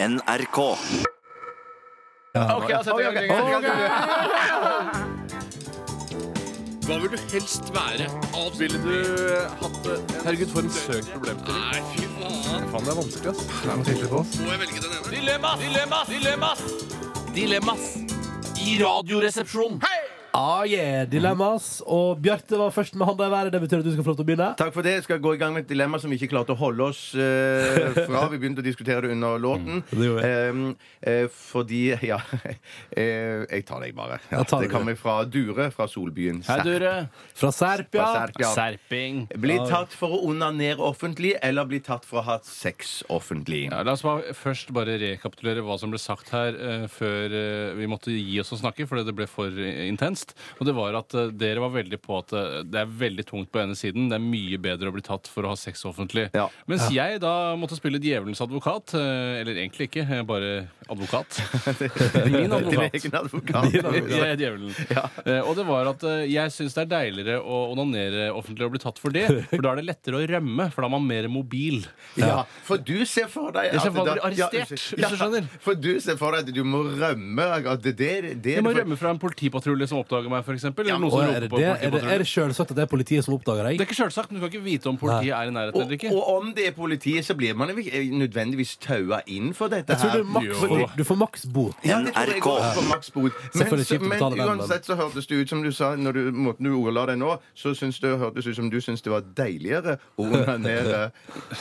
NRK. Ok, altså, det er- Hva vil du helst være? Ville du hatt det? Herregud, for en søk problemstilling. Nei, fy faen. Faen, det er vanskelig, ass. Må jeg velge den ene? Dilemmas, dilemmas, dilemmas! Dilemmas i Radioresepsjonen. Ah, yeah, dilemmas. Og Bjarte var først med handa i været. Det betyr at du skal få lov til å begynne. Takk for det. Jeg skal gå i gang med et dilemma som vi ikke klarte å holde oss eh, fra. Vi begynte å diskutere Mm. det under låten. gjorde Eh, eh, fordi Ja. eh, jeg tar deg bare. Ja, Da tar det du kommer fra Dure fra Solbyen. Hei, Dure. Fra Serpia. Fra Serp, ja. Serping. Bli tatt for å onanere offentlig, eller bli tatt for å ha sex offentlig. Ja, la oss bare, først bare rekapitulere hva som ble sagt her eh, før eh, vi måtte gi oss å snakke, fordi det ble for eh, intenst. Og det var at eh, dere var veldig på at eh, det er veldig tungt på ene siden. Det er mye bedre å bli tatt for å ha sex offentlig. Ja. Mens jeg da måtte spille djevelens advokat. eh, eller egentlig ikke, jeg er bare advokat. Min Din advokat. egen advokat. Jeg er djevelen. Eh, og det var at eh, jeg syns det er deiligere å onanere offentlig og bli tatt for det. For da er det lettere å rømme, for da er man mer mobil. Ja, for du ser for deg Jeg ser for meg å bli at- ja, arrestert, hvis du skjønner. For du ser for deg at du må rømme. at Det, det, det, det, Jeg må rømme fra en politipatrulje som oppdager meg, f.eks. Eller noen Og som er roper det, på det, er det, er politipatrulje. det selvsagt at det er politiet som oppdager Det deg? er ikke sjølsagt, men du kan ikke vite om politiet er i nærheten Og, eller ikke. og om det er politiet, så blir man ikke eh, nødvendigvis taua inn for dette Jeg tror her. du, maks, får- du får maks bot. Ja, det tror jeg NRK. også på maks bot. Men, Selvfølgelig så, kjipt å men betale den, men- uansett så hørtes det ut som du sa, når du, måten du ordla deg nå, så syns det hørtes ut som du syns det var deiligere å onanere.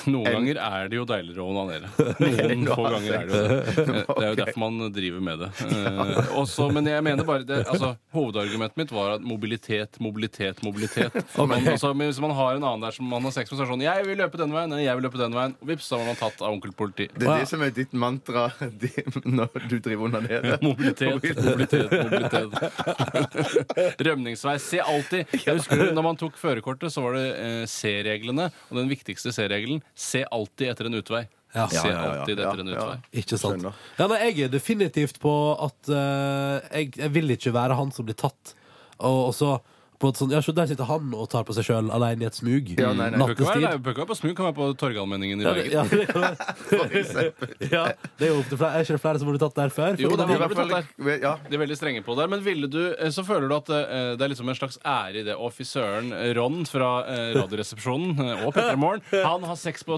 Noen ganger er det jo deiligere å onanere. Noen Nå få har ganger er jeg det jo det. Eh, Ok. Det er jo derfor man driver med det. Eh, også, men jeg mener bare det, altså, Hovedargumentet mitt var at mobilitet, mobilitet, mobilitet. Man, altså, men hvis man har en annen der som man har sex med, så er det sånn Jeg vil løpe den veien, nei, jeg vil løpe den veien. Og vips, så var man tatt av onkel politi. Det er det som er ditt mantra det- når du driver onanerer. Mobilitet, mobilitet, mobilitet. Rømningsvei. Se alltid. Jeg husker når man tok førerkortet, så var det eh, C-reglene. Og den viktigste C-regelen se alltid etter en utvei. Ja. Se Ja, ja, ja, alltid ja, etter en ja. utvei. Ikke sant? Skjønner. Ja, nei, jeg er definitivt på at eh, jeg, jeg vil ikke være han som blir tatt. Og, og så på et sånt, ja, så Der sitter han og tar på seg sjøl alene i et smug. Ja, nei, nei. Bør ikke være- Nattestid. nei, bør ikke være på smug, kan være på Torgallmenningen i Ja, det- Bergen. ja, det kan være- ja, det er jo opp til flere. Er ikke det flere som har blitt tatt der før? Jo, det I er mange hvert blitt tatt fall, der. ja. De er veldig strenge på det. Men ville du, eh, så føler du at eh, det er liksom en slags ære i det. Og fy søren, Ron fra eh, Radioresepsjonen eh, og Petter Morn, han har sex på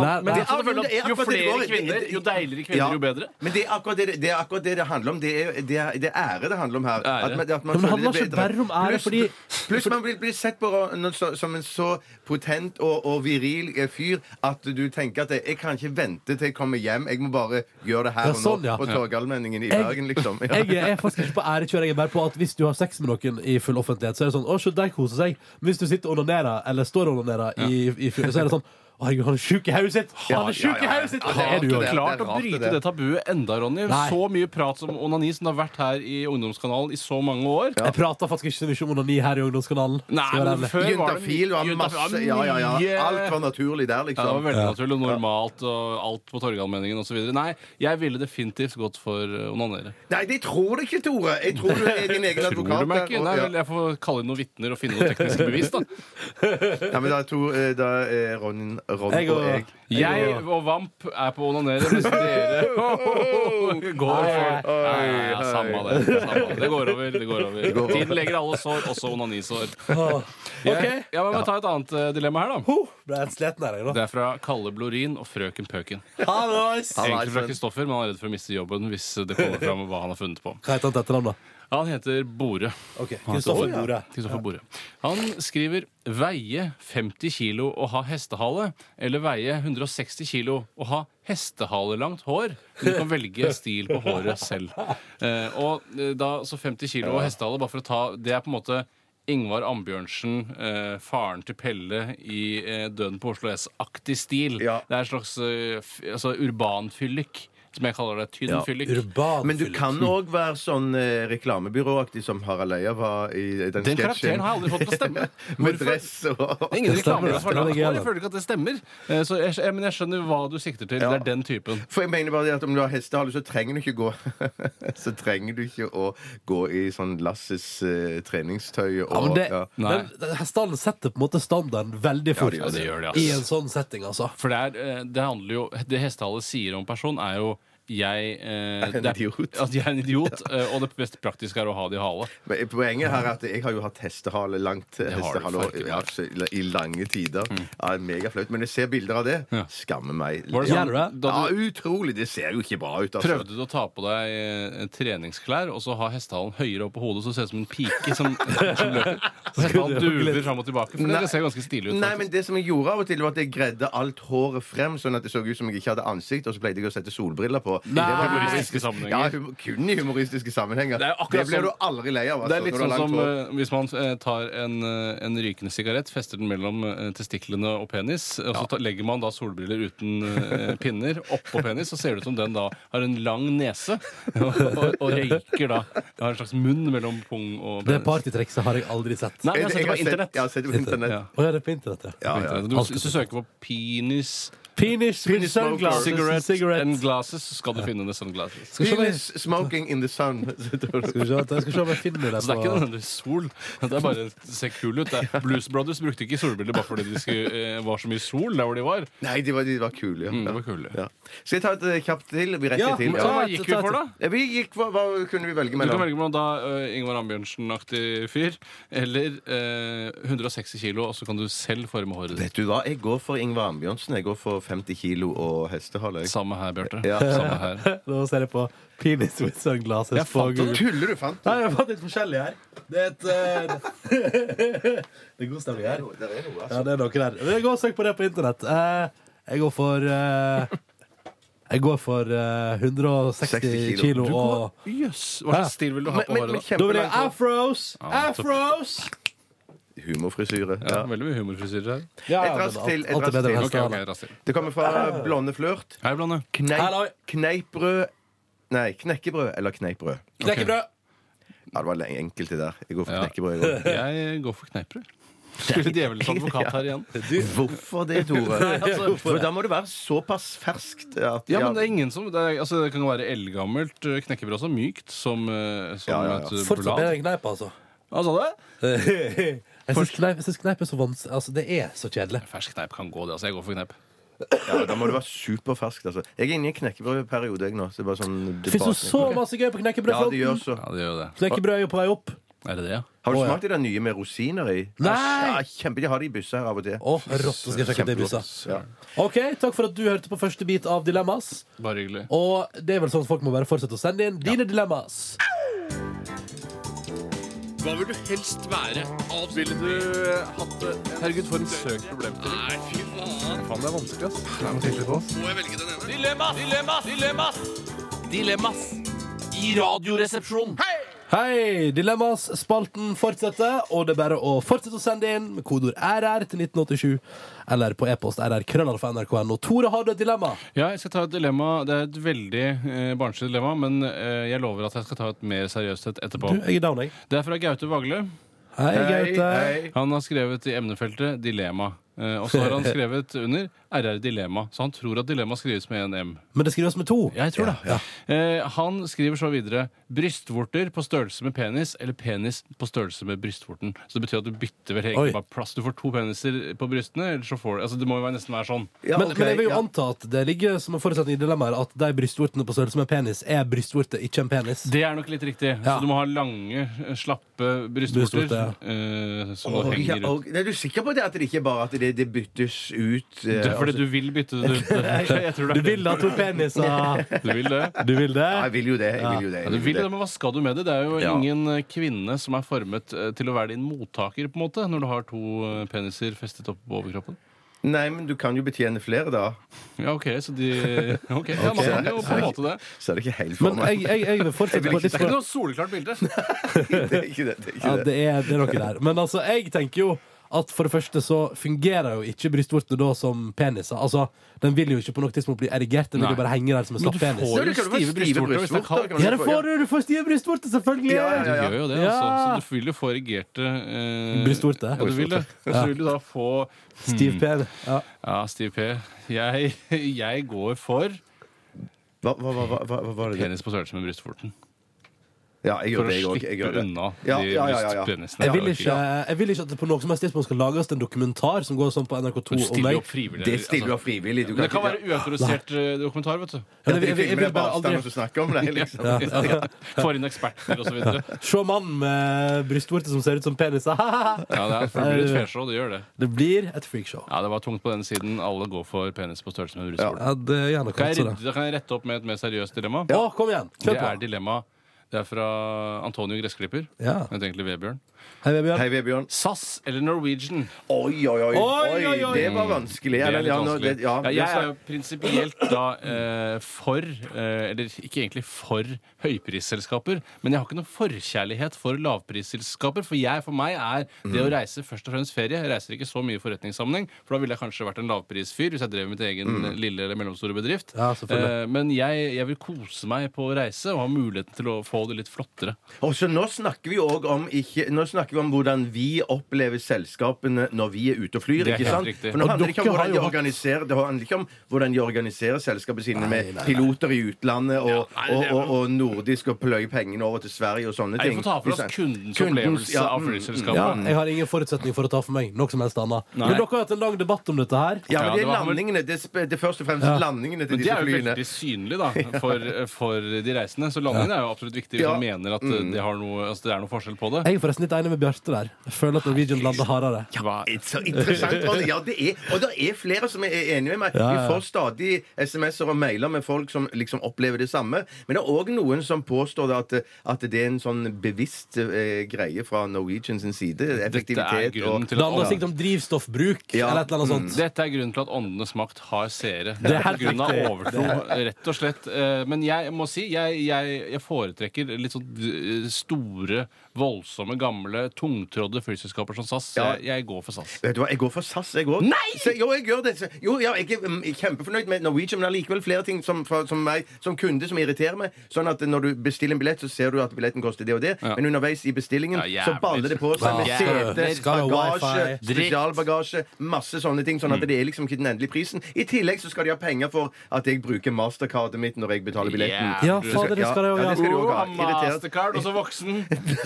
Nei, han. Men nei. jeg Ja, føler at men jo det er akkurat flere det det går i. kvinner, jo deiligere Ja. kvinner, jo bedre. Men det er akkurat det det, er akkurat det, det handler om. Det er, det er, det er ære det handler om her. Ære. At man, at man Men det føler handler er ikke bedre. bare om ære, Pluss- fordi- Pluss man blir, blir sett på noe så- som en så potent og, og viril eh, fyr at du tenker at jeg kan ikke vente til jeg kommer hjem. Jeg må bare gjøre det her Ja, og sånn, nå. ja. På Torgallmenningen i Jeg- Bergen, liksom. Ja. Jeg er faktisk ikke på ærekjør. Jeg er bare på at hvis du har sex med noen i full offentlighet, så er det sånn Å, se, der koser seg. Men hvis du sitter og onanerer, eller står og onanerer, i, i, full- så er det sånn Å, herregud, han er sjuk i hodet sitt! Han Ja, er sjuk i ja, ja. hodet sitt! Ja, Og det er du jo. det er klart å rart, det bryte det, der. tabuet enda, Ronny. Nei. Så mye prat om onani som det har vært her i Ungdomskanalen i så mange år. Jeg prater faktisk ikke så mye om onani her i Ungdomskanalen. Nei, skal jeg være men ærlig. før var det Juntafil og masse Ja, ja, ja. mye- Alt var naturlig der, Ja, det var liksom. veldig naturlig og normalt og alt på Torgallmenningen osv. Nei, jeg ville definitivt gått for eh, onanere. Nei, det tror jeg ikke, Tore. Jeg tror du er din egen advokat. Tror du meg der, ikke? og- Nei, ja. vel, jeg får kalle inn noen vitner og finne noen tekniske bevis, da. Nei, men da er, Tor, eh, da er Ron, Ron Jeg og og- jeg Jeg og Vamp er på å onanere, mens dere går for Nei, ja, Samme det. Samme det. Det går over. Det går over. Tiden legger alle sår, også onanisår. Åh. Jeg, jeg må bare ta et annet eh, dilemma her, da. Ho, Ble jeg helt sliten her, jeg, da. Det er fra Kalle Blorin og Frøken Pøken. Hallois! Egentlig fra Kristoffer, men han er redd for å miste jobben hvis det kommer fram hva han har funnet på. Hva heter han til etternavn, da? Han heter Bore. Ok, Kristoffer Bore. Kristoffer Bore. Han skriver 'veie 50 kilo og ha hestehale' eller 'veie 160 kilo og ha hestehalelangt hår'. Men Du kan velge stil på håret selv. Eh, og eh, da, så 50 kilo og hestehale, bare for å ta Det er på en måte Ingvar Ambjørnsen, eh, faren til Pelle i eh, 'Døden på Oslo S'-aktig stil. Ja. Det er en slags eh, f altså urbanfyllik, som jeg kaller det. Tynn fyllik. Urban Men du Philip. kan òg være sånn eh, reklamebyråaktig som Harald Eia var i den Den karakteren sketsjen. har jeg aldri fått på stemme. Med Hvorfor? dress og Det er Ingen Det stemmer, det. reklame. altså. for Den er det. gøy, altså. Jeg da. føler ikke at det stemmer. Eh, Så jeg, jeg, men jeg skjønner hva du sikter til. Det er den typen. For jeg mener bare det at Om du har hestehale, så trenger du ikke gå Så trenger du ikke å gå i sånn Lasses eh, treningstøy og Ja, men det, ja. Nei. den, den- hestene setter på en måte standarden veldig fort. Ja, det gjør det, ass. I en sånn setting, altså. For det, er, eh, det handler jo Det hestehale sier om en person, er jo jeg eh, Er en det idiot. At jeg er en idiot, eh, og det best praktiske er å ha det i hale. Men poenget her er at jeg har jo hatt hestehale langt har du hestehale, og- faktisk. Mm. ja, så- i lange tider. Ja, Megaflaut. Men jeg ser bilder av det. Skammer meg. Var det Ja, sånn, gjør du det? da Ja, du utrolig. Det ser jo ikke bra ut. Altså. prøvde du å ta på deg eh, treningsklær, og så har hestehalen høyere opp på hodet, så ser det ut som en pike som, som løper. Og hestehalen duver fram og tilbake. For Nei. det ser ganske stilig ut. Nei, faktisk. men det som jeg gjorde av og til, var at jeg gredde alt håret frem, sånn at det så ut som jeg ikke hadde ansikt, og så pleide jeg å sette solbriller på. Det var Humoristiske sammenhenger. Ja, hum kun i humoristiske sammenhenger. Det er akkurat blir du sånn- aldri lei av. Altså, Det er litt når du sånn har langt som hår. eh, hvis man eh, tar en, eh, en rykende sigarett, fester den mellom eh, testiklene og penis, og så ta, legger man da solbriller uten eh, pinner oppå penis, så ser det ut som den da har en lang nese og, og, og røyker da. Har en slags munn mellom pung og Det penis. partytrikset har jeg aldri sett. Nei, men jeg har sett det har på internett. Ja, jeg har sett det på internett. Ja. Å, ja, det er på internett, ja. Ja, ja. Du, hvis du søker på penis, Penis with Penis smoker. sunglasses cigarette, and cigarette. and glasses, så skal du finne det sånn sunglasses. Skal vi se om jeg- Penis smoking in the sun. skal vi se jeg skal se om jeg finner det Så det er på ikke nødvendigvis sol. Det er bare det ser kul ut. Det er- Blues Brothers brukte ikke solbriller bare fordi det skulle, eh, var så mye sol der hvor de var. Nei, de var, de var kule. Ja. det Mm, var kule. Mm. Ja. Skal jeg ta et eh, kjapt til? Vi rekker Ja, til. men Ja. Så ta- hva gikk vi for, da? Ja, Vi gikk, hva, hva kunne vi velge Du kan mellom? velge mellom da eh, Ingvar Ambjørnsen-aktig fyr eller eh, 160 kilo, og så kan du selv forme håret ditt. Vet du hva, jeg går for Ingvar Ambjørnsen. Jeg går for 50 kilo og hestehale. jeg. Samme her, Bjarte. Ja. Samme her. Nå ser jeg på penis with sunglasses Jeg på fant Google. Tuller du, fant du? Nei, jeg fant litt forskjellig her. Det er et eh, Det er god stemning her. Der er noe, altså. Ja, det er noe der. Men Gå og søk på det på internett. Eh, jeg går for eh, Jeg går for eh, 160 60 kilo. kilo og Jøss. Hva slags stil vil du ha Men, på men, men håret? da? Da blir det kjempelangt hår. afros! Ja, topp. Afros! Humorfrisyre. Ja, Ja. veldig mye humorfrisyrer her. Ja, Et men alt- raskt til, et alt er raskt bedre til. enn Ok, ok, hestehale. raskt til. Det kommer fra Blonde flørt. Hei, Blande. Hallo. Kneip, kneippbrød Nei, knekkebrød eller kneippbrød. Knekkebrød. Ja, det var le- enkelt det der. Jeg går for Ja. knekkebrød. Jeg går. Jeg går for kneippbrød. Spiller djevelens advokat her igjen. Hvorfor det, Tore? altså, for da må det være såpass ferskt at Ja, men det er ingen som Det, er, altså, det kan jo være eldgammelt eh, knekkebrød også. Mykt som, eh, som Ja, ja, ja. et eh, Fortsatt bedre enn blad. kneip, altså. Hva sa du? Jeg syns kneip, jeg synes kneip er så vanskelig Altså, det er så kjedelig. Fersk kneip kan gå, det. Altså, jeg går for kneip. Ja, da må det være superferskt. Altså. Jeg er inne i en knekkebrødperiode, jeg nå. Så det er bare sånn Det fins jo så masse gøy på Ja, det gjør knekkebrødfronten. så. Ja, det gjør jo det. Knekkebrød er jo på vei opp. Er det det, ja? Har du Å, ja. smakt det der nye med rosiner i? Nei! Ja, kjempe, De har det i busser her av og til. Å, rått, så skal jeg sjekke at det er bussa. Ja. Ok, Takk for at du hørte på første bit av Dilemmas. Bare hyggelig. Og det er vel sånn at folk må bare fortsette å sende inn dine dilemmas. Hva vil du helst være? Avspille Du eh, hatt det Herregud, for en søkt problemstilling. Nei, fy faen. Faen, det er vanskelig, ass. Må jeg velge den ene? Dilemmas! Dilemmas! Dilemmas! Dilemmas i Radioresepsjonen. Hei! Dilemmas-spalten fortsetter, og det er bare å fortsette å sende inn med kodeord RR til 1987. Eller på e-post rr.krøllalfa.nrk.no. Tore, har du et dilemma? Ja, jeg skal ta et dilemma. Det er et veldig eh, barnslig dilemma, men eh, jeg lover at jeg skal ta et mer seriøst et etterpå. Du, jeg er down, jeg. Det er fra Gaute Vagle. Hei, Gaute. hei. Han har skrevet i emnefeltet 'dilemma'. Eh, og så har han skrevet under 'RR Dilemma', så han tror at dilemma skrives med en M. Men det skrives med to. Jeg tror det. Eh, han skriver så videre 'brystvorter på størrelse med penis' eller 'penis på størrelse med brystvorten'. Så det betyr at du bytter vel Oi. egentlig bare plass. Du får to peniser på brystene, eller så får du Altså det må jo være- nesten være sånn. Ja, men, ok, men jeg vil jo ja. anta at det ligger som en forutsetning i dilemmaet at de brystvortene på størrelse med penis er brystvorter, ikke en penis. Det er nok litt riktig. Ja. Så du må ha lange, eh, slappe brystvorter. Brystvorter, eh, som Og- henger ja, ut. og- Nei, Er du sikker på det at det ikke bare at det, det byttes ut? eh, Det er fordi altså- du vil bytte det ut. Jeg tror Du det er vil ha to peniser! det. Du vil det. Du vil det? Ja, jeg vil jo det. Jeg vil jo det. Ja, jeg du vil vil jo det, men Hva skal du med det? Det er jo Ja. ingen eh, kvinne som er formet eh, til å være din mottaker, på en måte, når du har to eh, peniser festet opp på overkroppen. Nei, men du kan jo betjene flere, da. Ja, OK, så de Ok, ja, man kan jo på en måte det. Så er det ikke helt for Men jeg, meg. jeg, jeg vil fortsette på Det er litt ikke noe soleklart bilde. Det er ikke det. det, er ikke Ja, det. det er, det er noe der. Men altså, jeg tenker jo at for det første så fungerer jo ikke brystvortene da som peniser. Altså, Den vil jo ikke på noe tidspunkt bli erigert. Den vil Nei. jo bare henge der som en Men du slapp penis. får du jo kan jo få stive stive brystvorter hvis det er brystvorter, kaldt. kan Ja, det får du! Du får stive brystvorter, selvfølgelig! Ja, ja, ja. Du gjør jo det, Ja. altså. Så du vil jo få erigerte eh, Brystvorte. Ja, du vil det. Så vil du da få Stiv penis. Ja. Ja, Stiv P. Jeg, jeg går for Hva, hva, hva, hva, hva var det? penis på størrelse med brystvorten. Ja, jeg gjør For å det, jeg òg. Jeg slippe gjør det. unna Ja, de ja, ja, ja, ja. penisene. Jeg vil, ikke, jeg vil ikke at det på noe som helst tidspunkt skal lages en dokumentar som går sånn på Du NRK2 om stiller meg. jo opp frivillig. altså. Det stiller jo frivillig. Du Men det kan ikke- være uautorisert eh, dokumentar, vet du. Men Ja, jeg, jeg, de jeg, jeg vil filmer deg på bare avstand aldri og så snakker om deg, liksom. Får inn eksperter og så videre. Se mannen med brystvorte som ser ut som penis. Ja, det, er, for det blir et feshow, det gjør det. Det blir et freakshow. Ja, det var tungt på den siden. Alle går for penis på størrelse med en rullestol. Ja, det er gjerne Kan jeg, kalt sånn. redd- da kan jeg rette opp med et mer seriøst dilemma? Å, kom igjen! Det Kjør er på. dilemma Det er fra Antonio Gressklipper. Ja. Han heter egentlig Vebjørn. Hei, Vebjørn. Hei, Vebjørn. SAS eller Norwegian? Oi, oi, oi. Oi, oi, oi. Oi, det var vanskelig. Det er Eller, litt ja, nå- vanskelig. det- ja, Ja, jeg det- er jo prinsipielt da eh, for eh, Eller ikke egentlig for høyprisselskaper, men jeg har ikke noe forkjærlighet for lavprisselskaper. For jeg, for meg er det Mm. å reise først og fremst ferie. Jeg reiser ikke så mye i forretningssammenheng, for da ville jeg kanskje vært en lavprisfyr hvis jeg drev mitt egen Mm. eh, lille eller mellomstore bedrift. Ja, selvfølgelig. Eh, men jeg, jeg vil kose meg på å reise og ha muligheten til å få det litt flottere. Og så nå snakker vi òg om ikke, Nå snakker vi om hvordan vi opplever selskapene når vi er ute og flyr. Det er ikke helt sant? riktig. For nå Og handler det ikke om dere har jo hvordan de hatt- organiserer Det handler ikke om hvordan de organiserer selskapene sine med piloter i utlandet og, Ja, nei, det er og, og, og nordisk og pløye pengene over til Sverige og sånne Nei, ting. vi får ta for oss kundens opplevelse ja, av mm, flyselskapet. Ja, jeg har ingen forutsetning for å ta for meg noe som helst annet. Men dere har hatt en lang debatt om dette her. Ja, men Ja, det det er var- landingene. Det er, sp- det er først og fremst landingene til Men det disse er jo flyene. veldig synlig da, for, for de reisende. Så landingen er jo absolutt viktig hvis Ja. Mm. man mener at det, har noe, altså, det er noe forskjell på det. Jeg er forresten litt enig med Bjarte der. Jeg føler at Norwegian lander hardere. Hva? Så interessant. Ronny. Ja, det er, og det er flere som er enige med meg. Vi får stadig SMS-er og mailer med folk som liksom opplever det samme. Men det er òg noen som påstår det at, at det er en sånn bevisst eh, greie fra Norwegian sin side. Dette er Effektivitet grunnen og til Det at Mm. handler sikkert om drivstoffbruk Ja. Mm. eller et eller annet sånt. Dette er grunnen til at Åndenes makt har seere. Det er helt på grunn av overtro, rett og slett. Eh, Men jeg må si, jeg, jeg, jeg foretrekker litt sånn eh, store, voldsomme, gamle, tungtrådde flyselskaper som SAS. Ja. Jeg, jeg går for SAS. Vet du hva, Jeg går for SAS, jeg òg. Jo, jeg gjør det. Så- Jo, ja, jeg er mm, kjempefornøyd med Norwegian, men det er likevel flere ting som, fra- som meg som kunde som irriterer meg. Sånn at når du bestiller en billett, så ser du at billetten koster det og det, Ja. men underveis i bestillingen Ja, jævlig. så baller det på seg med Ja. sete, Skal ha bagasje, wifi. spesialbagasje, masse sånne ting. Sånn at Mm. det er liksom ikke den endelige prisen. I tillegg så skal de ha penger for at jeg bruker mastercardet mitt når jeg betaler billetten. Yeah. Ja, fader, det skal jeg jo Ja, gjøre. det skal du også ha. Oh, Irritert. Mastercard, også voksen.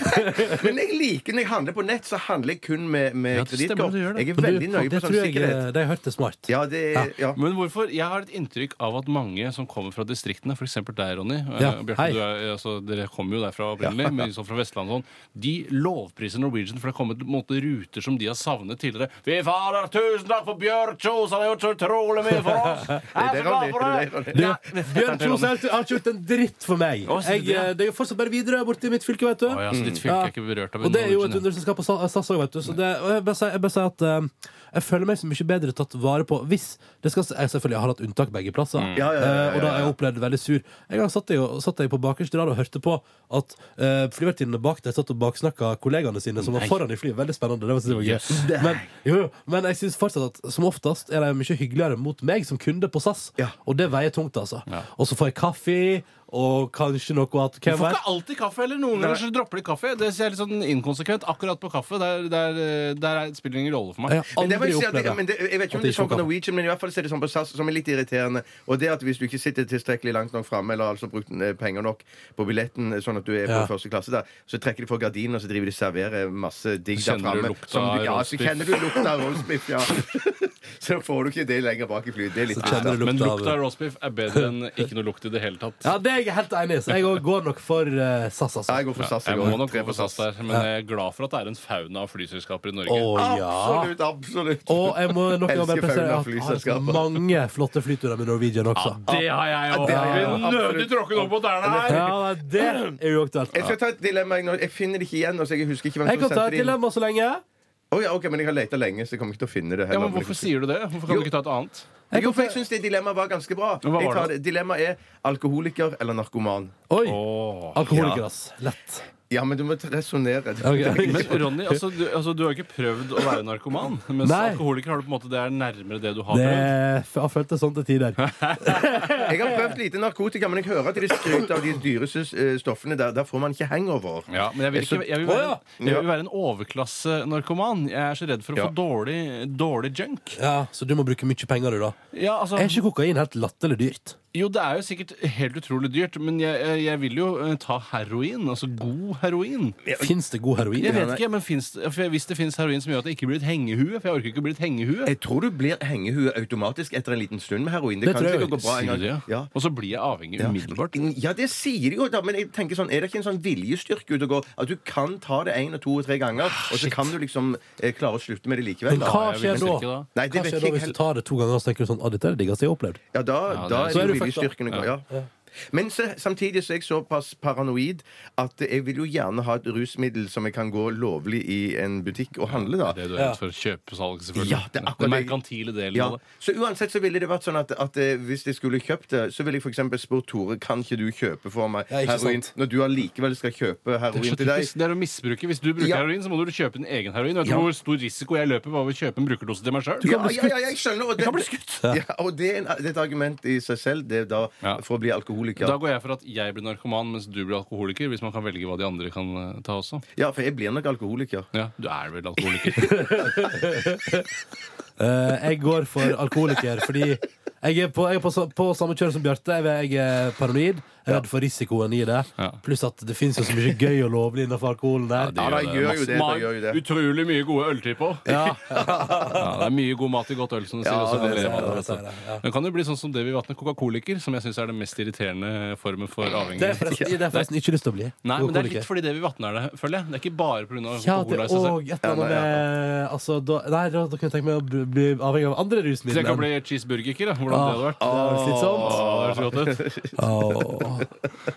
Men jeg liker når jeg handler på nett, så handler jeg kun med, med Ja, det stemmer, kredittkort. du gjør det. Jeg er Men du, veldig nøye det på sånn tror jeg, eh, sikkerhet. det har jeg hørt er smart. Ja, det ja. Men hvorfor? Jeg har et inntrykk av at mange som kommer fra distriktene, f.eks. deg, Ronny eh, Ja, Bjarte, hei. du er, altså, Dere kommer jo derfra opprinnelig, men liksom fra Vestlandet og sånn. De lovpriser Norwegian, for det har kommet på en måte, ruter som de har savnet tidligere. Vi fader, tusen takk for Bjørk Kjos, han har gjort så utrolig mye for oss! Jeg det er så glad Ronny, det er for det det! Du, Bjørn Kjos har ikke- har ikke gjort en dritt for meg. Å, sier Jeg, du det? eh, det er jo fortsatt bare Widerøe borte i mitt fylke, vet du. Å ja, så ditt fylke er ikke berørt av Og det er jo et Norwegian, ja. underselskap av Sa- SAS òg, vet du. Så det, og jeg bare sier jeg bare sier at eh, jeg føler meg så mye bedre tatt vare på hvis det skal, Jeg selvfølgelig har hatt unntak begge plasser, Mm. Ja, ja, ja, ja, eh, og da har jeg opplevd det veldig sur. En gang satt jeg, jo- satt jeg på bakerste rad og hørte på at uh, flyvertinnene bak der satt og baksnakka kollegaene sine som var foran i flyet. Veldig spennende. Det var, det var gøy. Men, jo, jo, men jeg syns fortsatt at som oftest er de mye hyggeligere mot meg som kunde på SAS, Ja. og det veier tungt, altså. Og så får jeg kaffe. Og kanskje noe at Du får ikke alltid kaffe, eller noen ganger så dropper de kaffe. Det ser jeg litt sånn inkonsekvent. Akkurat på kaffe, der, der, eh, der er- spiller det ingen rolle for meg. Jeg har Men det må aldri jeg, si at opplevd det, men det, jeg vet ikke om At de det er sånn ikke på kan- Norwegian, men i hvert fall er det sånn på SAS som er litt irriterende. Og det at hvis du ikke sitter tilstrekkelig langt nok framme, eller altså brukt eh, penger nok på billetten, eh, sånn at du er på Ja. første klasse der, så trekker de for gardinene, og så driver de og serverer masse digg der Kjenner du framme. lukta som du- Ja, av så roastbiff? kjenner du lukta av roastbiff, ja. Så får du ikke det lenger bak i flyet. Det er litt Så kjenner trist. du da. Men lukta av- lukta av roastbiff er bedre enn ikke noe lukt i det hele tatt. Ja, det er jeg helt enig i. Så jeg også går nok for eh, SAS, altså. Ja, Jeg går for SAS. Jeg går. må nok Tre gå for SAS der, men jeg er glad for at det er en fauna av flyselskaper i Norge. Å, ja. Absolutt, absolutt. Og jeg må nok Elsker bare presisere at fauna jeg har hatt flyselskaper. mange flotte flyturer med Norwegian også. det har jeg òg! Ja, det- Vi nødig tråkket opp på tærne her! Ja, det er jo aktuelt. Jeg skal ta et dilemma. jeg nå- Jeg finner det ikke igjen. Altså, jeg husker ikke hvem Jeg kan som ta sendte et det inn. dilemma så lenge. Å, ja, ok, men jeg har leta lenge, så jeg kommer ikke til å finne det. Ja, heller. men Hvorfor sier du det? Hvorfor kan Jo. du ikke ta et annet? Jeg Jo, kan for få... jeg syns det dilemmaet var ganske bra. Hva var Jeg tar det? det. Dilemmaet er alkoholiker eller narkoman. Oi! Åh. Alkoholiker, ass. Lett. Ja, men du må resonnere. Ok. Men Ronny, altså, du, altså, du har ikke prøvd å være narkoman. Mens Nei. alkoholiker har du på en måte, det er nærmere det du har Det prøvd. f- har føltes sånn til tider. Jeg har prøvd lite narkotika, men jeg hører at de skryter av de dyreste eh, stoffene. Der, der får man ikke hangover. Ja, men jeg vil, ikke, jeg, vil Å, være, ja. jeg vil være en overklassenarkoman. Jeg er så redd for å Ja. få dårlig, dårlig junk. Ja, Så du må bruke mye penger, du, da. Ja, altså, Er ikke kokain helt latterlig dyrt? Jo, det er jo sikkert helt utrolig dyrt, men jeg, jeg- jeg vil jo eh, ta heroin. Altså god heroin. Fins det god heroin? Jeg vet ikke, men finnes, det- for jeg- Hvis det finnes heroin som gjør at jeg ikke blir et hengehue For jeg orker ikke å bli et hengehue. Jeg tror du blir hengehue automatisk etter en liten stund med heroin. Det, Det kan tror jeg sikkert gå bra en Sier gang. du det? Ja. Og så blir jeg avhengig umiddelbart. Ja, det sier de jo, da, men jeg tenker sånn, er det ikke en sånn viljestyrke ute og går? At du kan ta det én og to og tre ganger, og så kan du liksom eh, klare å slutte med det likevel? Ah, Men da. hva jeg vil skjer ikke da? drikke da. Nei, det Hva vet skjer jeg da ikke hvis du helt. tar det to ganger og så tenker du sånn «Å, dette er det diggeste jeg har opplevd? Ja, da, det da er- Så er det er jo du fucked up. viljestyrken. å gå, Ja. Men se, samtidig så er jeg såpass paranoid at jeg vil jo gjerne ha et rusmiddel som jeg kan gå lovlig i en butikk og handle, da. Det du er redd for kjøpesalg, selvfølgelig. Ja, det er akkurat det. merkantile delen Ja, av det. så uansett så ville det vært sånn at, at eh, hvis jeg skulle kjøpt det, så ville jeg for eksempel spurt Tore kan ikke du kjøpe for meg Ja, ikke heroin sant. når du allikevel skal kjøpe Det er, heroin så til deg. typisk, det er å misbruke. Hvis du bruker Ja. heroin, så må du kjøpe din egen heroin. Vet du Ja. hvor stor risiko jeg løper ved å kjøpe en brukerdose til meg sjøl? Ja, ja, ja, jeg skjønner. Og det, kan bli skutt. Ja, og det er, en, det er et argument i seg selv det er da, Ja. for å bli alkoholiker. Da går jeg for at jeg blir narkoman, mens du blir alkoholiker. Hvis man kan velge hva de andre kan eh, ta også. Ja, for jeg blir nok alkoholiker. Ja, Du er vel alkoholiker? Eh, jeg går for alkoholiker fordi jeg er på, jeg er på, sa- på samme kjør som Bjarte. Jeg jeg er paranoid. Jeg er redd for risikoen i det. Ja. Pluss at det fins jo så mye gøy og lovlig innenfor alkoholen der. Ja, da gjør jo det. Da Magen, gjør jo det. utrolig mye gode øltyper. Ja. det er mye god mat i godt øl, som du sier. Ja, også. det er sant, det Det er sant, er ja. sant. Men kan det bli sånn som det vi vatner coca-coliker, som jeg syns er den mest irriterende formen for Det er avhengighet? forresten, det er forresten ikke lyst til å bli. Nei, men det er alkoholiker. litt altså, fordi det vi vatner det, føler jeg. Det er ikke bare pga. ja, det cola er i seg òg selv. et eller annet med altså, da, Nei, da, da kunne jeg tenke meg å bli- bli avhengig av andre Hvis jeg kan rusmidler. bli cheeseburgerker, da. Hvordan det hadde vært. Det er slitsomt. Å, det høres godt ut. Åh.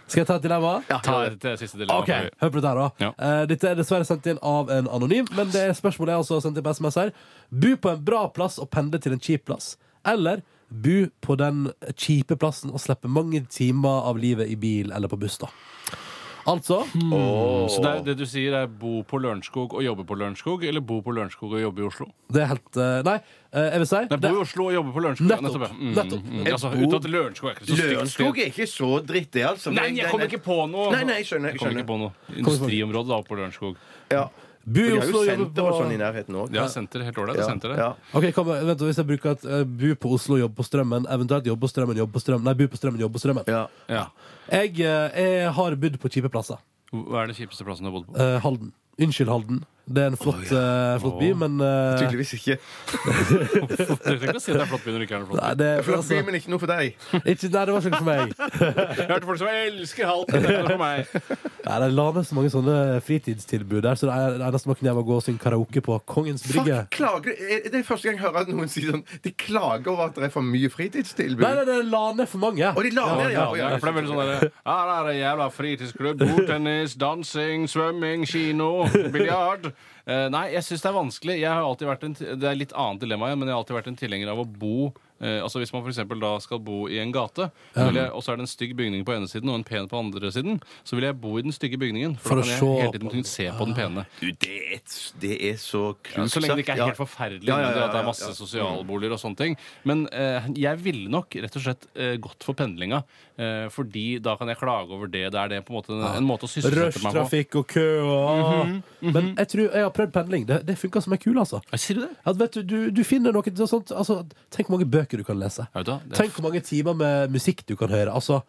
Skal jeg ta et dilemma? Ta det siste Ok, dilemmaet. hør på dette her da Ja. Eh, Dette er dessverre sendt inn av en anonym Men det er spørsmålet jeg også har sendt inn på sms her Bu på en bra plass og pendle til en kjip plass Eller bu på den kjipe plassen Og slippe mange timer av livet i bil eller på buss da Altså Mm, Så det, er, det du sier, er bo på Lørenskog og jobbe på Lørenskog, eller bo på Lørenskog og jobbe i Oslo? Det er helt, eh, nei, eh, jeg vil si Nei, bo i Oslo og jobbe på Lørenskog. ja, Nettopp, ja. Mm, nettopp. Mm, altså, uten at Lørenskog er ikke så stygt Lørenskog sted. er ikke så dritt, det, altså. Nei, jeg kommer ikke på noe. Nei, nei, jeg skjønner, jeg Jeg kommer ikke på noe. Industriområdet da oppe på Lørenskog. Ja. Bu i De har Oslo jo og jobbe senter og sånn i på nærheten òg. Det er senteret. Helt ålreit. det er senteret. Ja. Ok, kom, vent, hvis jeg bruker at eh, Bu på Oslo, jobb på strømmen Eventuelt jobb på strømmen, jobb på strømmen Nei, bu på strømmen, jobb på strømmen Ja. Ja. jeg, eh, jeg har budd på kjipe plasser Hva er den kjipeste plassen du har bodd på? Eh, Halden. Unnskyld, Halden. Det er en flott, eh, flott by, men eh, Tydeligvis ikke. Du trenger ikke å si at det er flott by når det ikke er noe flott. nei, det, Flott by, altså, men ikke liksom noe for deg. ikke, nei, det var ikke for meg. Nei, Jeg hørte folk som elsker Halden. Det er for meg. det la ned så mange sånne fritidstilbud der, så det er- det eneste man kunne gjøre, var å gå og synge karaoke på Kongens Fuck, Brygge. klager du? Er- Det er første gang jeg hører at noen sier sånn De klager over at det er for mye fritidstilbud. Nei, nei, det la ned for mange. Og de lager det, ja. Ja, Å, ja, ja. for det er veldig sånn der, Her er det jævla fritidsklubb, bordtennis, dansing, svømming, kino, biljard. Eh, nei, jeg syns det er vanskelig. Jeg har alltid vært en, det er litt annet dilemma igjen, men jeg har alltid vært en tilhenger av å bo eh, altså Hvis man for eksempel da skal bo i en gate, så vil jeg, og så er det en stygg bygning på ene siden og en pen på andre siden, så vil jeg bo i den stygge bygningen. For For, da å kan se jeg hele tiden kunne se på den Ah. pene. Du, det er, et- det er så Ja, klokt Så lenge det ikke er sagt. helt forferdelig, Ja, ja, men ja, at det er masse ja, ja. sosialboliger og sånne ting. Men eh, jeg ville nok rett og slett eh, gått for pendlinga, eh, fordi da kan jeg klage over det. Det er det på en måte en, en måte å sysselsette meg på. Rushtrafikk og kø og Mhm, Men jeg tror jeg har prøvd pendling. Det, det funka som ei kule, altså. Ja, Sier du det? At, vet du, du, du finner noe sånt altså, Tenk hvor mange bøker du kan lese. Ja, vet du hva, det er- Tenk hvor mange timer med musikk du kan høre. Altså,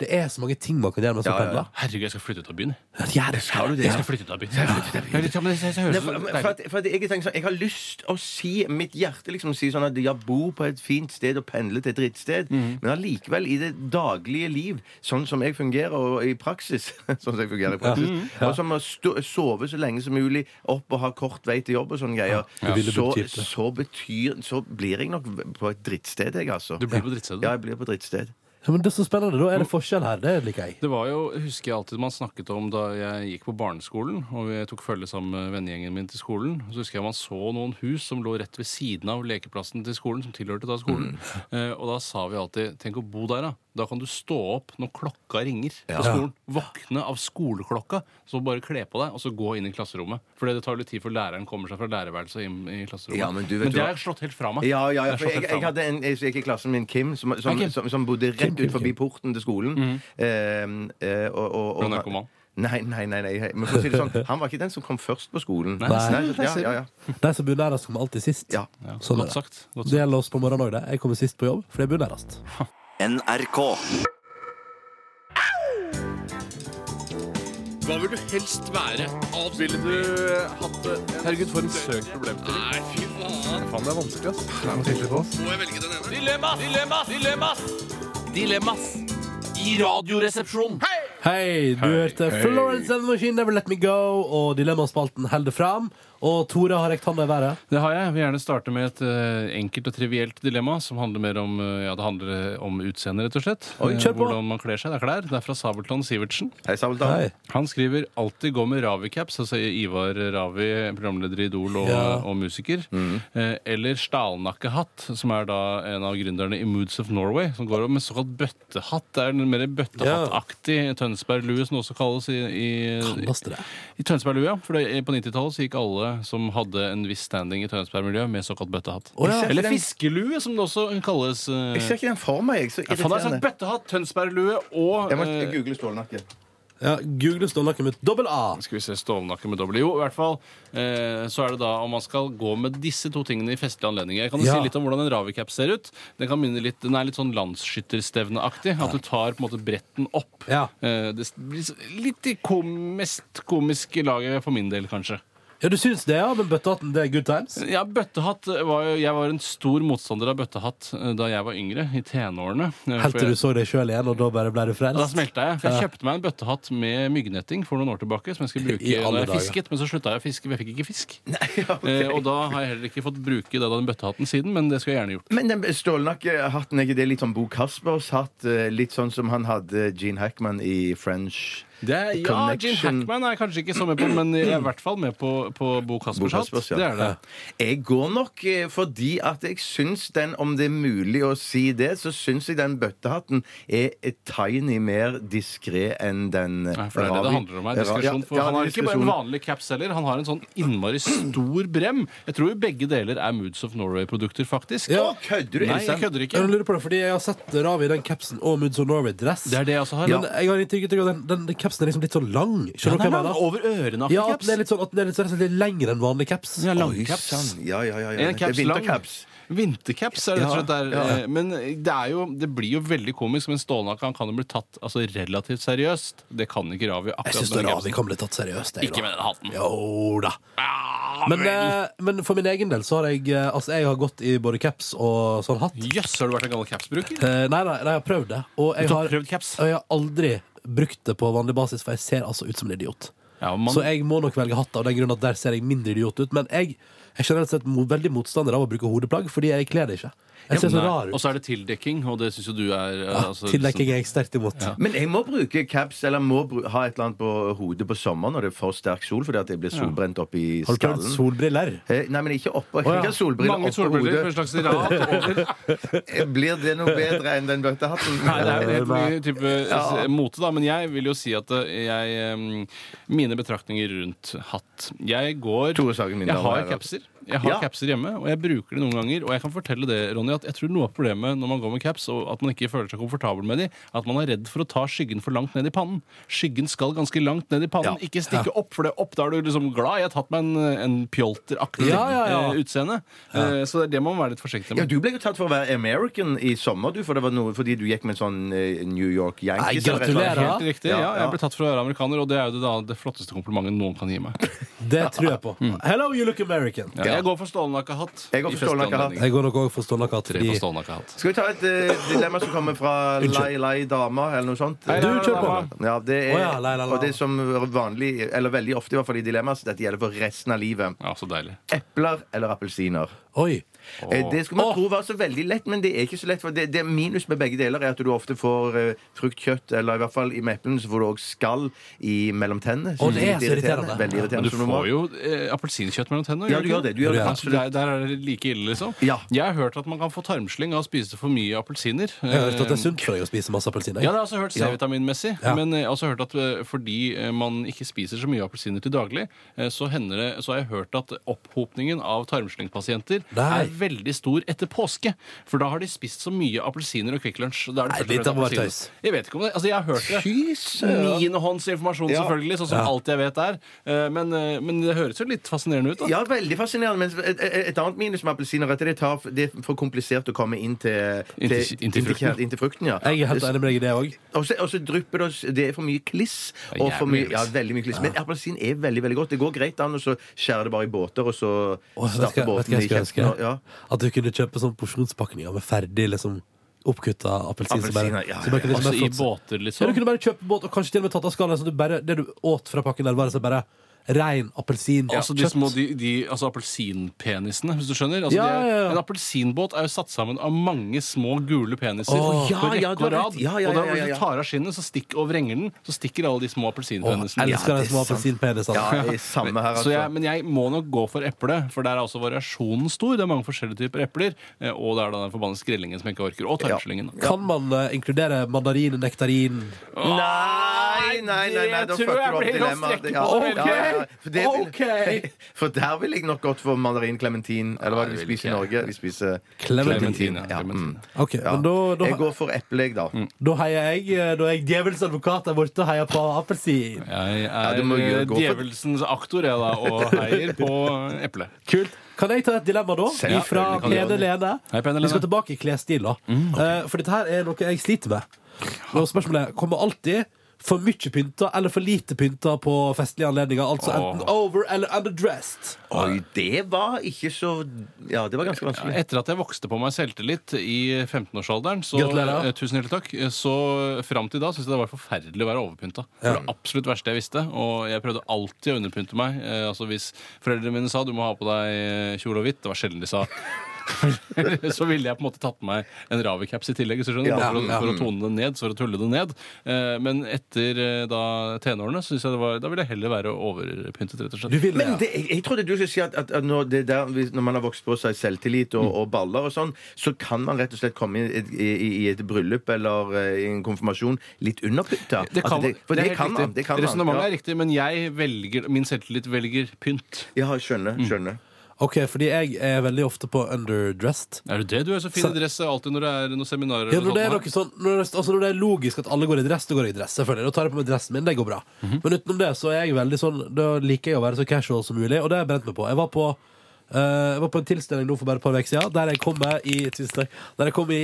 det er så mange ting man kan gjøre mens man Ja, ja, ja. pendler. Herregud, jeg skal flytte ut av byen. jeg. Ja, det skal du det. Jeg skal flytte ut av byen. Ja, litt, ja, men det- det- det høres Nei, så for, deilig for, at, for at Jeg tenker sånn Jeg har lyst å si mitt hjerte liksom si sånn at jeg bor på et fint sted og pendler til et drittsted, Mhm. men allikevel i det daglige liv, sånn som jeg fungerer og i praksis Sånn som jeg fungerer i praksis Mhm. Og som å stå- sove så lenge som mulig, opp og ha kort vei til jobb og sånne greier, Ja. Det ville så, betydd det. så betyr Så blir jeg nok på et drittsted, jeg, altså. Du blir på drittstedet. Ja, jeg blir på drittsted. Ja, men det er så spennende. Da er det forskjell her. Det liker jeg. Det var jo, husker jeg alltid man snakket om da jeg gikk på barneskolen, og jeg tok følge sammen med vennegjengen min til skolen. Så husker jeg man så noen hus som lå rett ved siden av lekeplassen til skolen, som tilhørte da skolen. Mm. Eh, og da sa vi alltid 'tenk å bo der, da'. Da kan du stå opp når klokka ringer på skolen. Våkne av skoleklokka, så bare kle på deg, og så gå inn i klasserommet. For det tar litt tid før læreren kommer seg fra lærerværelset og inn i klasserommet. Ja, men du vet det hva- har jeg slått helt fra meg. Ja, ja, Det ja har for jeg, slått helt fra jeg meg. hadde en jeg gikk i klassen min, Kim, som, som, Kim. Mhm. som, som bodde rett Kim, ut forbi Kim. porten til skolen. Eh, eh, og, og, og, Ble han narkoman? Nei, nei, nei. nei. Men for å si det sånn, han var ikke den som kom først på skolen. Nei, ja, ja, ja. De som bor nærmest, kommer alltid sist. Ja. Sånn er det. Godt sagt. Godt Det gjelder oss på morgenen òg, det. Jeg kommer sist på jobb, for jeg bor nærmest. NRK. Hva vil du helst være? Avspiller Ville du hatt det? Herregud, for en søkt problemstilling. Nei, fy faen. Faen, det er vanskelig, ass. Det er noe sikkert på oss. Må jeg velge den ene? Dilemmas! Dilemmas! Dilemmas! Dilemmas i Radioresepsjonen. Hei, du hørte Florence and the Machine, Never Let Me Go, og Dilemmaspalten holder fram. Og Tore har rekt handa i været. Det har jeg. Jeg vil gjerne starte med et eh, enkelt og trivielt dilemma som handler mer om, eh, ja, det handler om utseende, rett og slett. Oi, Eh, kjør på. Hvordan man kler seg. Det er klær. Det er fra Sabeltann Sivertsen. Hei, Sabeltann. Han skriver 'alltid gå med Ravi-caps', altså Ivar Ravi, programleder i Idol og, Ja. og musiker. Eh, eller stalnakkehatt, som er da en av gründerne i Moods of Norway, som går med såkalt bøttehatt. Det er den mer bøttehattaktig Tønsberg-lue, som det også kalles i, i, Kallast det. i Tønsberg-lue, ja. For det, på 90-tallet så gikk alle som hadde en viss standing i Tønsberg-miljøet, med såkalt bøttehatt. ja. Eller fiskelue, som det også kalles. eh. Jeg ser ikke den for meg. jeg. Så Ja, faen, det er irriterende. sånn bøttehatt, Tønsberg-lue og Jeg må eh, google stålnakke. Ja, Google stålnakken med dobbel A. skal vi se, stålnakke med dobbel Jo, i hvert fall eh, så er det da om man skal gå med disse to tingene i festlige anledninger. Jeg kan jo Ja. si litt om hvordan en Ravi-cap ser ut. Den kan minne litt, den er litt sånn landsskytterstevneaktig. At du tar på en måte bretten opp. Ja. Eh, det blir så- litt i kom, mest komiske laget for min del, kanskje. Ja, du syns det, ja, men bøttehatten, det er good times? Ja, bøttehatt var jo Jeg var en stor motstander av bøttehatt eh, da jeg var yngre, i tenårene. Eh, for Helt jeg- til du så deg sjøl igjen, og da bare ble du Da frelst? smelta jeg. For jeg kjøpte meg en bøttehatt med myggnetting for noen år tilbake. Som jeg skulle I bruke alle når jeg dager. fisket, men så slutta jeg å fiske. for Jeg fikk ikke fisk. eh, og da har jeg heller ikke fått bruke det av den bøttehatten siden, men det skulle jeg gjerne gjort. Men den stålnakkehatten, er ikke det litt sånn Bo Caspers hatt? eh, Litt sånn som han hadde Gene Hackman i French Det er, ja, Gene Connection. Hackman er jeg kanskje ikke så med på, men jeg er i hvert fall med på, på Bo Bo Caspers hatt. Caspers, ja. Det er det. Jeg går nok eh, fordi at jeg syns den, om det er mulig å si det, så syns jeg den bøttehatten er et tiny mer diskré enn den Nei, For det er det det handler om her. Diskusjon. For han har ikke bare en vanlig caps heller, han har en sånn innmari stor brem. Jeg tror jo begge deler er Moods of Norway-produkter, faktisk. Å, kødder du? Nei, jeg Elsa? kødder ikke. Jeg lurer på det, fordi jeg har sett Ravi i den capsen og Moods of Norway-dress. Det er det jeg også har. Men jeg har inntrykk av at den, den, den capsen er liksom litt sånn lang. Ja, Skjønner du hva nei, jeg mener? nei, over ørene Ja, at den er litt sånn, at den er litt, sånn, rett og slett litt lengre enn vanlig caps. Ja, Oi, langcaps. sann. Ja, ja, ja, Eh, ja. En Det er Eh, caps lang. vintercaps. Vintercaps er det rett og slett der. Ja, ja. eh, Men det, er jo, det blir jo veldig komisk, men Stålnakka han kan jo bli tatt altså, relativt seriøst. Det kan ikke Ravi Jeg akkurat syns med den Ravi capsen. kan bli tatt seriøst. jeg, da. Ikke med den hatten. Jo da. Ah, Men, vel. eh, men for min egen del så har jeg eh, Altså, jeg har gått i både caps og sånn hatt. Jøss, har du vært en gammel capsbruker? Eh, nei, nei, nei, jeg har prøvd det. Og jeg Du har, har prøvd caps? og jeg har aldri brukt det på vanlig basis, for jeg ser altså ut som en idiot. Ja, man, Så jeg må nok velge hatt av den grunn at der ser jeg mindre idiot ut. Men jeg, jeg er generelt sett mo- veldig motstander av å bruke hodeplagg, fordi jeg kler det Ah, ikke. Jeg ser så Nei, rar Og ut. så er det tildekking, og det syns jo du er eh, Ja, altså, Tildekking er jeg sterkt imot. Men jeg må bruke caps, eller må bru ha et eller annet på hodet på sommeren når det er for sterk sol, fordi at jeg blir solbrent opp i Har du prøvd skallen. solbriller? Eh, Nei, men ikke oppå. Jeg kan ikke ha solbriller Mange oppå solbriller på en hodet. Eh, slags rad over. Blir det noe bedre enn den bøttehatten? Eh, Nei, det er jo helt ny type s- mote, da. Men jeg vil jo si at eh, jeg em, Mine betraktninger rundt hatt Jeg går Tore Sagen, mine Jeg damer og har herrer. capser. Jeg har Ja. capser hjemme, og jeg bruker det noen ganger. Og jeg kan fortelle det, Ronny, at jeg tror noe av problemet når man går med caps, og at man ikke føler seg komfortabel med de, er at man er redd for å ta skyggen for langt ned i pannen. Skyggen skal ganske langt ned i pannen, ikke stikke opp, for det er opp da er du liksom glad. Jeg har tatt meg en, en pjolteraktig Ja, ja, ja. eh, utseende. Eh, Så det er det man må være litt forsiktig Ja, med. Du ble jo tatt for å være American i sommer, du, for det var noe, fordi du gikk med en sånn eh, New York Yankees. Nei, eller et eller annet. gratulerer. Helt riktig. Ja, Ja, ja. jeg ble tatt for å være amerikaner, og det er jo det, da, det flotteste komplimentet noen kan gi meg. Det tror jeg på. Mm. Hello, you look American. Ja. Jeg går for stålnakka hatt. Jeg går i for stålnakka hatt. festlige anledninger. Jeg går nok òg for stålnakka. Tre for fordi- stålnakka hatt. Skal vi ta et eh, dilemma som kommer fra Lai Lai Dama, eller noe sånt? Hei, Du, Lai Lai kjør på. Dama. Ja, det er, Å ja, Lai Lai Lai. Og det er som vanlig, eller veldig ofte i hvert fall i dilemmaer, så dette gjelder for resten av livet. Ja, så deilig. Epler eller appelsiner? Oi. Eh, Det skulle man tro var så veldig lett, men det er ikke så lett. For det, det er minus med begge deler er at du ofte får eh, fruktkjøtt, eller i hvert fall i meplene så får du også skall i mellom tennene. Å, det er så irriterende. Veldig Men irriterende. du som normalt. får jo eh, appelsinkjøtt mellom tennene. Ja, du ikke gjør det, du gjør det, Ja, så absolutt. Der, der er det like ille, liksom. Ja. Jeg har hørt at man kan få tarmslyng av å spise for mye appelsiner. Eh, Jeg har hørt Eh, at det er sunt for deg å spise masse appelsin. jeg. Ja, det har jeg også hørt C-vitaminmessig. Ja. Men jeg har også hørt at eh, fordi eh, man ikke spiser så mye appelsiner til daglig, eh, så, hender det, så har jeg hørt at opphopningen av tarmslyngpasienter eksempel, Nei. er veldig stor etter påske. For da har de spist så mye appelsiner og Kvikk Lunsj. og da er det Nei, først og dette fremst må være appelsiner. tøys. Jeg vet ikke om det. Altså, jeg har hørt det. Minehåndsinformasjon, Ja. selvfølgelig, sånn som alt jeg vet er. Eh, Men, eh, men det høres jo litt fascinerende ut, da. Ja, veldig fascinerende. Men et, et- et annet minus med appelsiner er at det, tar, det er for komplisert å komme inn til, Inn til- inn til frukten. kjern- inn til frukten ja. Jeg er helt enig med deg i det òg. Og så- og så drypper det oss- Det er for mye kliss. er Og for jævlig mye, ja, veldig mye kliss. Men appelsin er veldig veldig godt. Det går greit an å så skjære det bare i båter, og så Vet stappe du hva båten jeg i skulle kjeften. ønske? og- Ja. At du kunne kjøpe sånn porsjonspakninger med ferdig liksom oppkutta appelsin. som bare- Appelsiner, ja, som bare kunne- som Altså bare i flott. båter, Ja, du liksom. kunne bare kjøpe båt og kanskje til og med tatt av skallen. Så du bare, det du åt fra pakken der, var altså bare rein appelsin. Altså de små de, de, altså appelsinpenisene, hvis du skjønner. Altså, Ja, de er- ja, ja. En appelsinbåt er jo satt sammen av mange små gule Åh. peniser på Ja, ja, rekke du har og rad. rett. Ja, ja, Og da ja, ja, når ja. du tar av skinnet, så stikk og vrenger den, så stikker alle de små Åh, appelsinpenisene. elsker Ja, de det er små sant. appelsinpenisene. Ja, det er samme her, Så jeg, altså. men jeg må nok gå for eple, for der er også variasjonen stor. Det er mange forskjellige typer epler, eh, og det er da den forbanna skrellingen som jeg ikke orker. Og tarmslyngen. da. Kan man eh, inkludere mandarin, nektarin Nei, nei, nei, nei, da Det tror fucker jeg du opp blir å dilemmaet. strekke Ja, på. ja, ja, ja. For det vil- Ok. For der ville jeg nok gått for mandarin clementin. Eller hva er det vi Nei, det vil spiser i ikke Norge? Vi spiser Clementin, Clementin, ja, Ja, mm. clementin. Ok, Ja. men da, da, Jeg går for eple, jeg, da. da heier jeg eh, Da er jeg djevelens advokat der borte og heier på appelsin. Jeg du er må jo eh, gå for- djevelsens aktor, jeg, da, og heier på eple. Kult. Kan jeg ta et dilemma, da? Selvfølgelig Fra kan du Pene Mm, det. Lene. Hei, Pene Vi Lene. skal tilbake i klesstil, da. Eh, For dette her er noe jeg sliter med. Og spørsmålet er kommer alltid for mye pynta eller for lite pynta på festlige anledninger. Altså enten over eller underdressed. Oi, det var ikke så Ja, det var ganske vanskelig. Etter at jeg vokste på meg selvtillit i 15-årsalderen, så Gratulerer. eh, Tusen hjertelig takk. eh, Så fram til da syntes jeg det var forferdelig å være overpynta. Det var det absolutt verste jeg visste, og jeg prøvde alltid å underpynte meg. Eh, Altså hvis foreldrene mine sa du må ha på deg eh, kjole og hvitt, det var sjelden de sa. så ville jeg på en måte tatt på meg en Ravi-caps i tillegg, hvis du skjønner, Ja, bare for, ja. å, for å tone det ned, for å tulle det ned. Eh, Men etter eh, da tenårene, så synes jeg det var, da ville jeg heller være overpyntet, rett og slett. Du vil det, Men det, jeg, jeg trodde du skulle si at, at, at når, det der, hvis- når man har vokst på seg selvtillit og, og baller og sånn, så kan man rett og slett komme i, et- i, i et bryllup eller eh, i en konfirmasjon litt underpynta. Det At kan, det, Altså, for det, kan man. Det kan man. Resonnementet er riktig, men jeg velger, min selvtillit velger pynt. Ja, ja skjønner. skjønner. ja. OK, fordi jeg er veldig ofte på underdressed. Er det det? Du er så fin i dress alltid når det er noen seminarer. Ja, eller når, det er noe sånt. sånn, når, det, altså når det er logisk at alle går i dress, da går jeg i dress. selvfølgelig Da tar jeg på meg dressen min. Det går bra. Mhm. Men utenom det så er jeg veldig sånn Da liker jeg å være så casual som mulig, og det har jeg brent meg på. Jeg var på eh, jeg var på en tilstelning nå for bare et par uker siden, der jeg kom med i tusen takk, Der jeg kom i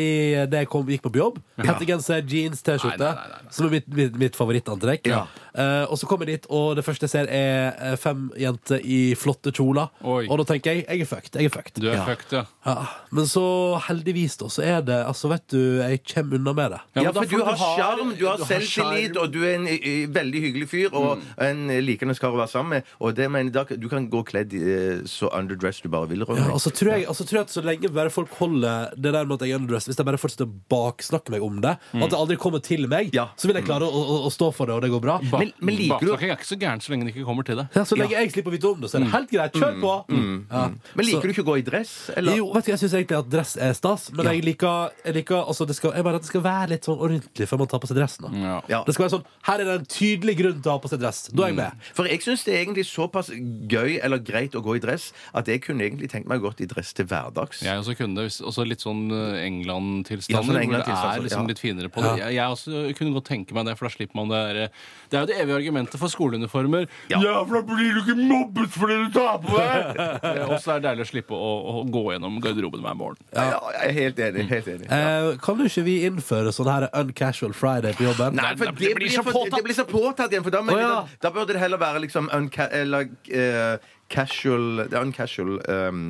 det jeg kom, gikk på jobb. Hettegenser, jeans, Nei, nei, T-skjorte, nei, nei, nei. som er mitt, mitt, mitt favorittantrekk. Ja. Eh, og så kommer jeg dit, og det første jeg ser, er eh, fem jenter i flotte kjoler. Oi. Og da tenker jeg jeg er fucked. Jeg er fucked. Du er fucked, ja. Ja, men så heldigvis da, så er det Altså, vet du, jeg kommer unna med det. men Ja, da for får du har sjarm, du har du har selvtillit, sjarm. og du er en eh, veldig hyggelig fyr og en eh, likende kar å være sammen med. Og det mener jeg, da- du kan gå kledd eh, så underdressed du bare vil. Ronny. Ja, altså, tror jeg, altså tror jeg at så lenge bare folk holder det der med at jeg er underdressed, hvis de bare fortsetter å baksnakke meg om det, at det aldri kommer til meg, Ja. så vil jeg klare å, å, å stå for det, og det går bra. Ba- Men- men liker du- Baksnakking er ikke så gæren så lenge det ikke kommer til deg. Ja, så lenge jeg slipper å vite om det, så er det helt greit. Kjør på! Ja. Men liker Så- du ikke å gå i dress? Eller? Jo, vet du, Jeg syns egentlig at dress er stas, men jeg liker, jeg liker altså, det skal, jeg bare at det skal være litt sånn ordentlig før man tar på seg dressen. da. Ja. Ja. Det skal være sånn, Her er det en tydelig grunn til å ha på seg dress. Da er jeg med. For jeg syns det er egentlig såpass gøy eller greit å gå i dress at jeg kunne egentlig tenkt meg å gå i dress til hverdags. Jeg også kunne det. hvis- Også litt sånn eh, Ja, England-tilstander. sånn hvor det England-tilstander, er liksom ja. litt finere på det. Jeg, jeg også kunne godt tenke meg det, for da slipper man det derre Det er jo det evige argumentet for skoleuniformer. Ja. for da blir du ikke mobbet fordi du tar på deg! Og så er det deilig å slippe å, å gå gjennom garderoben hver morgen. Ja, jeg er helt enig. Helt enig. Eh, kan ikke vi innføre sånn her uncasual friday på jobben? Nei, for det det, blir blir så for, påtatt. det blir så påtatt igjen. For da, mener Å, jeg ja. at- da burde det heller være liksom unca eller, eh, casual Det er uncasual um,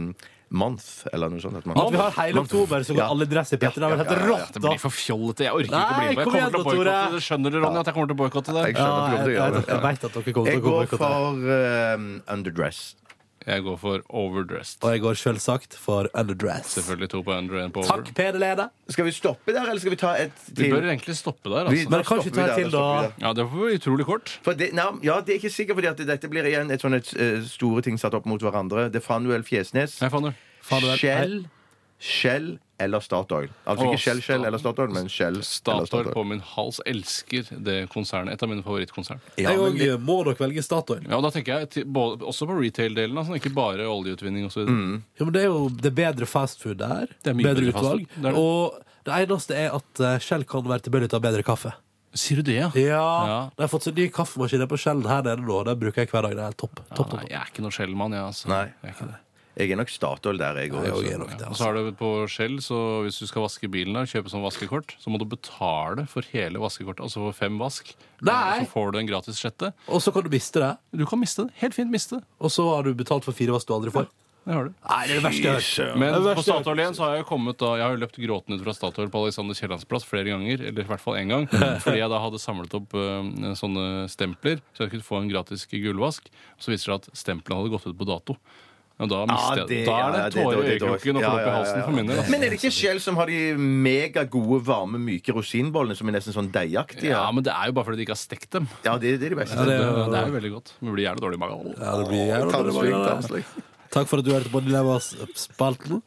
month, eller noe sånt. At man, At vi har hele oktober, så går Ja. alle i dress i Petter. Det er vel Ja, ja, helt ja, ja. rått, Det da! blir for fjollete. Jeg orker ikke å Nei, bli med. Jeg kom kommer igjen til å da, Tore. boikotte det. Skjønner du, Ronny, at jeg kommer til å boikotte Jeg det? Ja, skjønner jeg, at du kommer til å jeg, gjøre jeg, vet at det. dere kommer Jeg til å går boikotte. det. for um, underdress. Jeg går for overdressed. Og jeg går selvsagt for underdress. Selvfølgelig to på under og én på over. Takk, PD-leder. Skal vi stoppe der, eller skal vi ta et Vi til? bør egentlig stoppe der, Vi- altså. Men kanskje stopper ta vi et der, til, da stopper da. vi der. Ja, det var utrolig kort. For det, nei, ja, det er ikke sikkert, fordi at dette blir igjen et sånn et, eh, store ting satt opp mot hverandre. Det er Fanuel Fjesnes. Nei, faen du. Faen, du vet. Skjell, skjell, eller Statoil. Altså Å, ikke Shell Shell eller Statoil, men Shell eller Statoil Statoil. på min hals elsker det konsernet. Et av mine favorittkonsern. Ja, Jeg men òg det- må nok velge Statoil. Ja, og da tenker jeg til, både, også på retail-delen, altså, ikke bare oljeutvinning osv. Ja, men det er jo det er bedre fastfood der. Det er mye bedre bedre fast utvalg. food. Det er det. Og det eneste er at eh, Shell kan være tilbøyelig til å ha bedre kaffe. Sier du det, ja? Ja, Ja. De har fått seg ny kaffemaskin her på Shell her nede nå. Den bruker jeg hver dag. Det er helt topp. topp, Nei, topp. jeg er ikke noe Shell-mann, jeg, altså. Nei. Jeg er ikke det. Jeg er nok Statoil der, Jeg jeg òg. òg er nok det, Og altså. så er det på Shell, så hvis du skal vaske bilen der, kjøpe sånn vaskekort, så må du betale for hele vaskekortet, altså for fem vask. Nei! Så får du en gratis sjette. Og så kan du miste det. Du kan miste det. Helt fint miste det. Og så har du betalt for fire vask du aldri får. Det har du. Nei, det er det verste jeg har hørt. Men Det er på verst, ja. Statoil igjen så har jeg jo kommet da Jeg har jo løpt gråten ut fra Statoil på Alexander Kiellands plass flere ganger, eller i hvert fall én gang, fordi jeg da hadde samlet opp øh, sånne stempler, så jeg kunne få en gratis gullvask. Og så viser det seg at stemplene hadde gått ut på dato. Og da mister jeg det- Da er det ja, det er tårer i dårlig, dårlig. øyekroken og Ja, flopp i ja, ja, halsen ja. for min del. altså. Men er det ikke Shell som har de megagode, varme, myke rosinbollene som er nesten sånn deighaktige? Ja, Ja, men det er jo bare fordi de ikke har stekt dem. det, det er de beste. Ja, det Det, er jo- det er jo veldig godt. Men blir gjerne dårlig i magen. Ja, det blir jævla altså. Tarmslyng, dårlig. tarmslyng. Takk for at du hørte på Dilemmaspalten.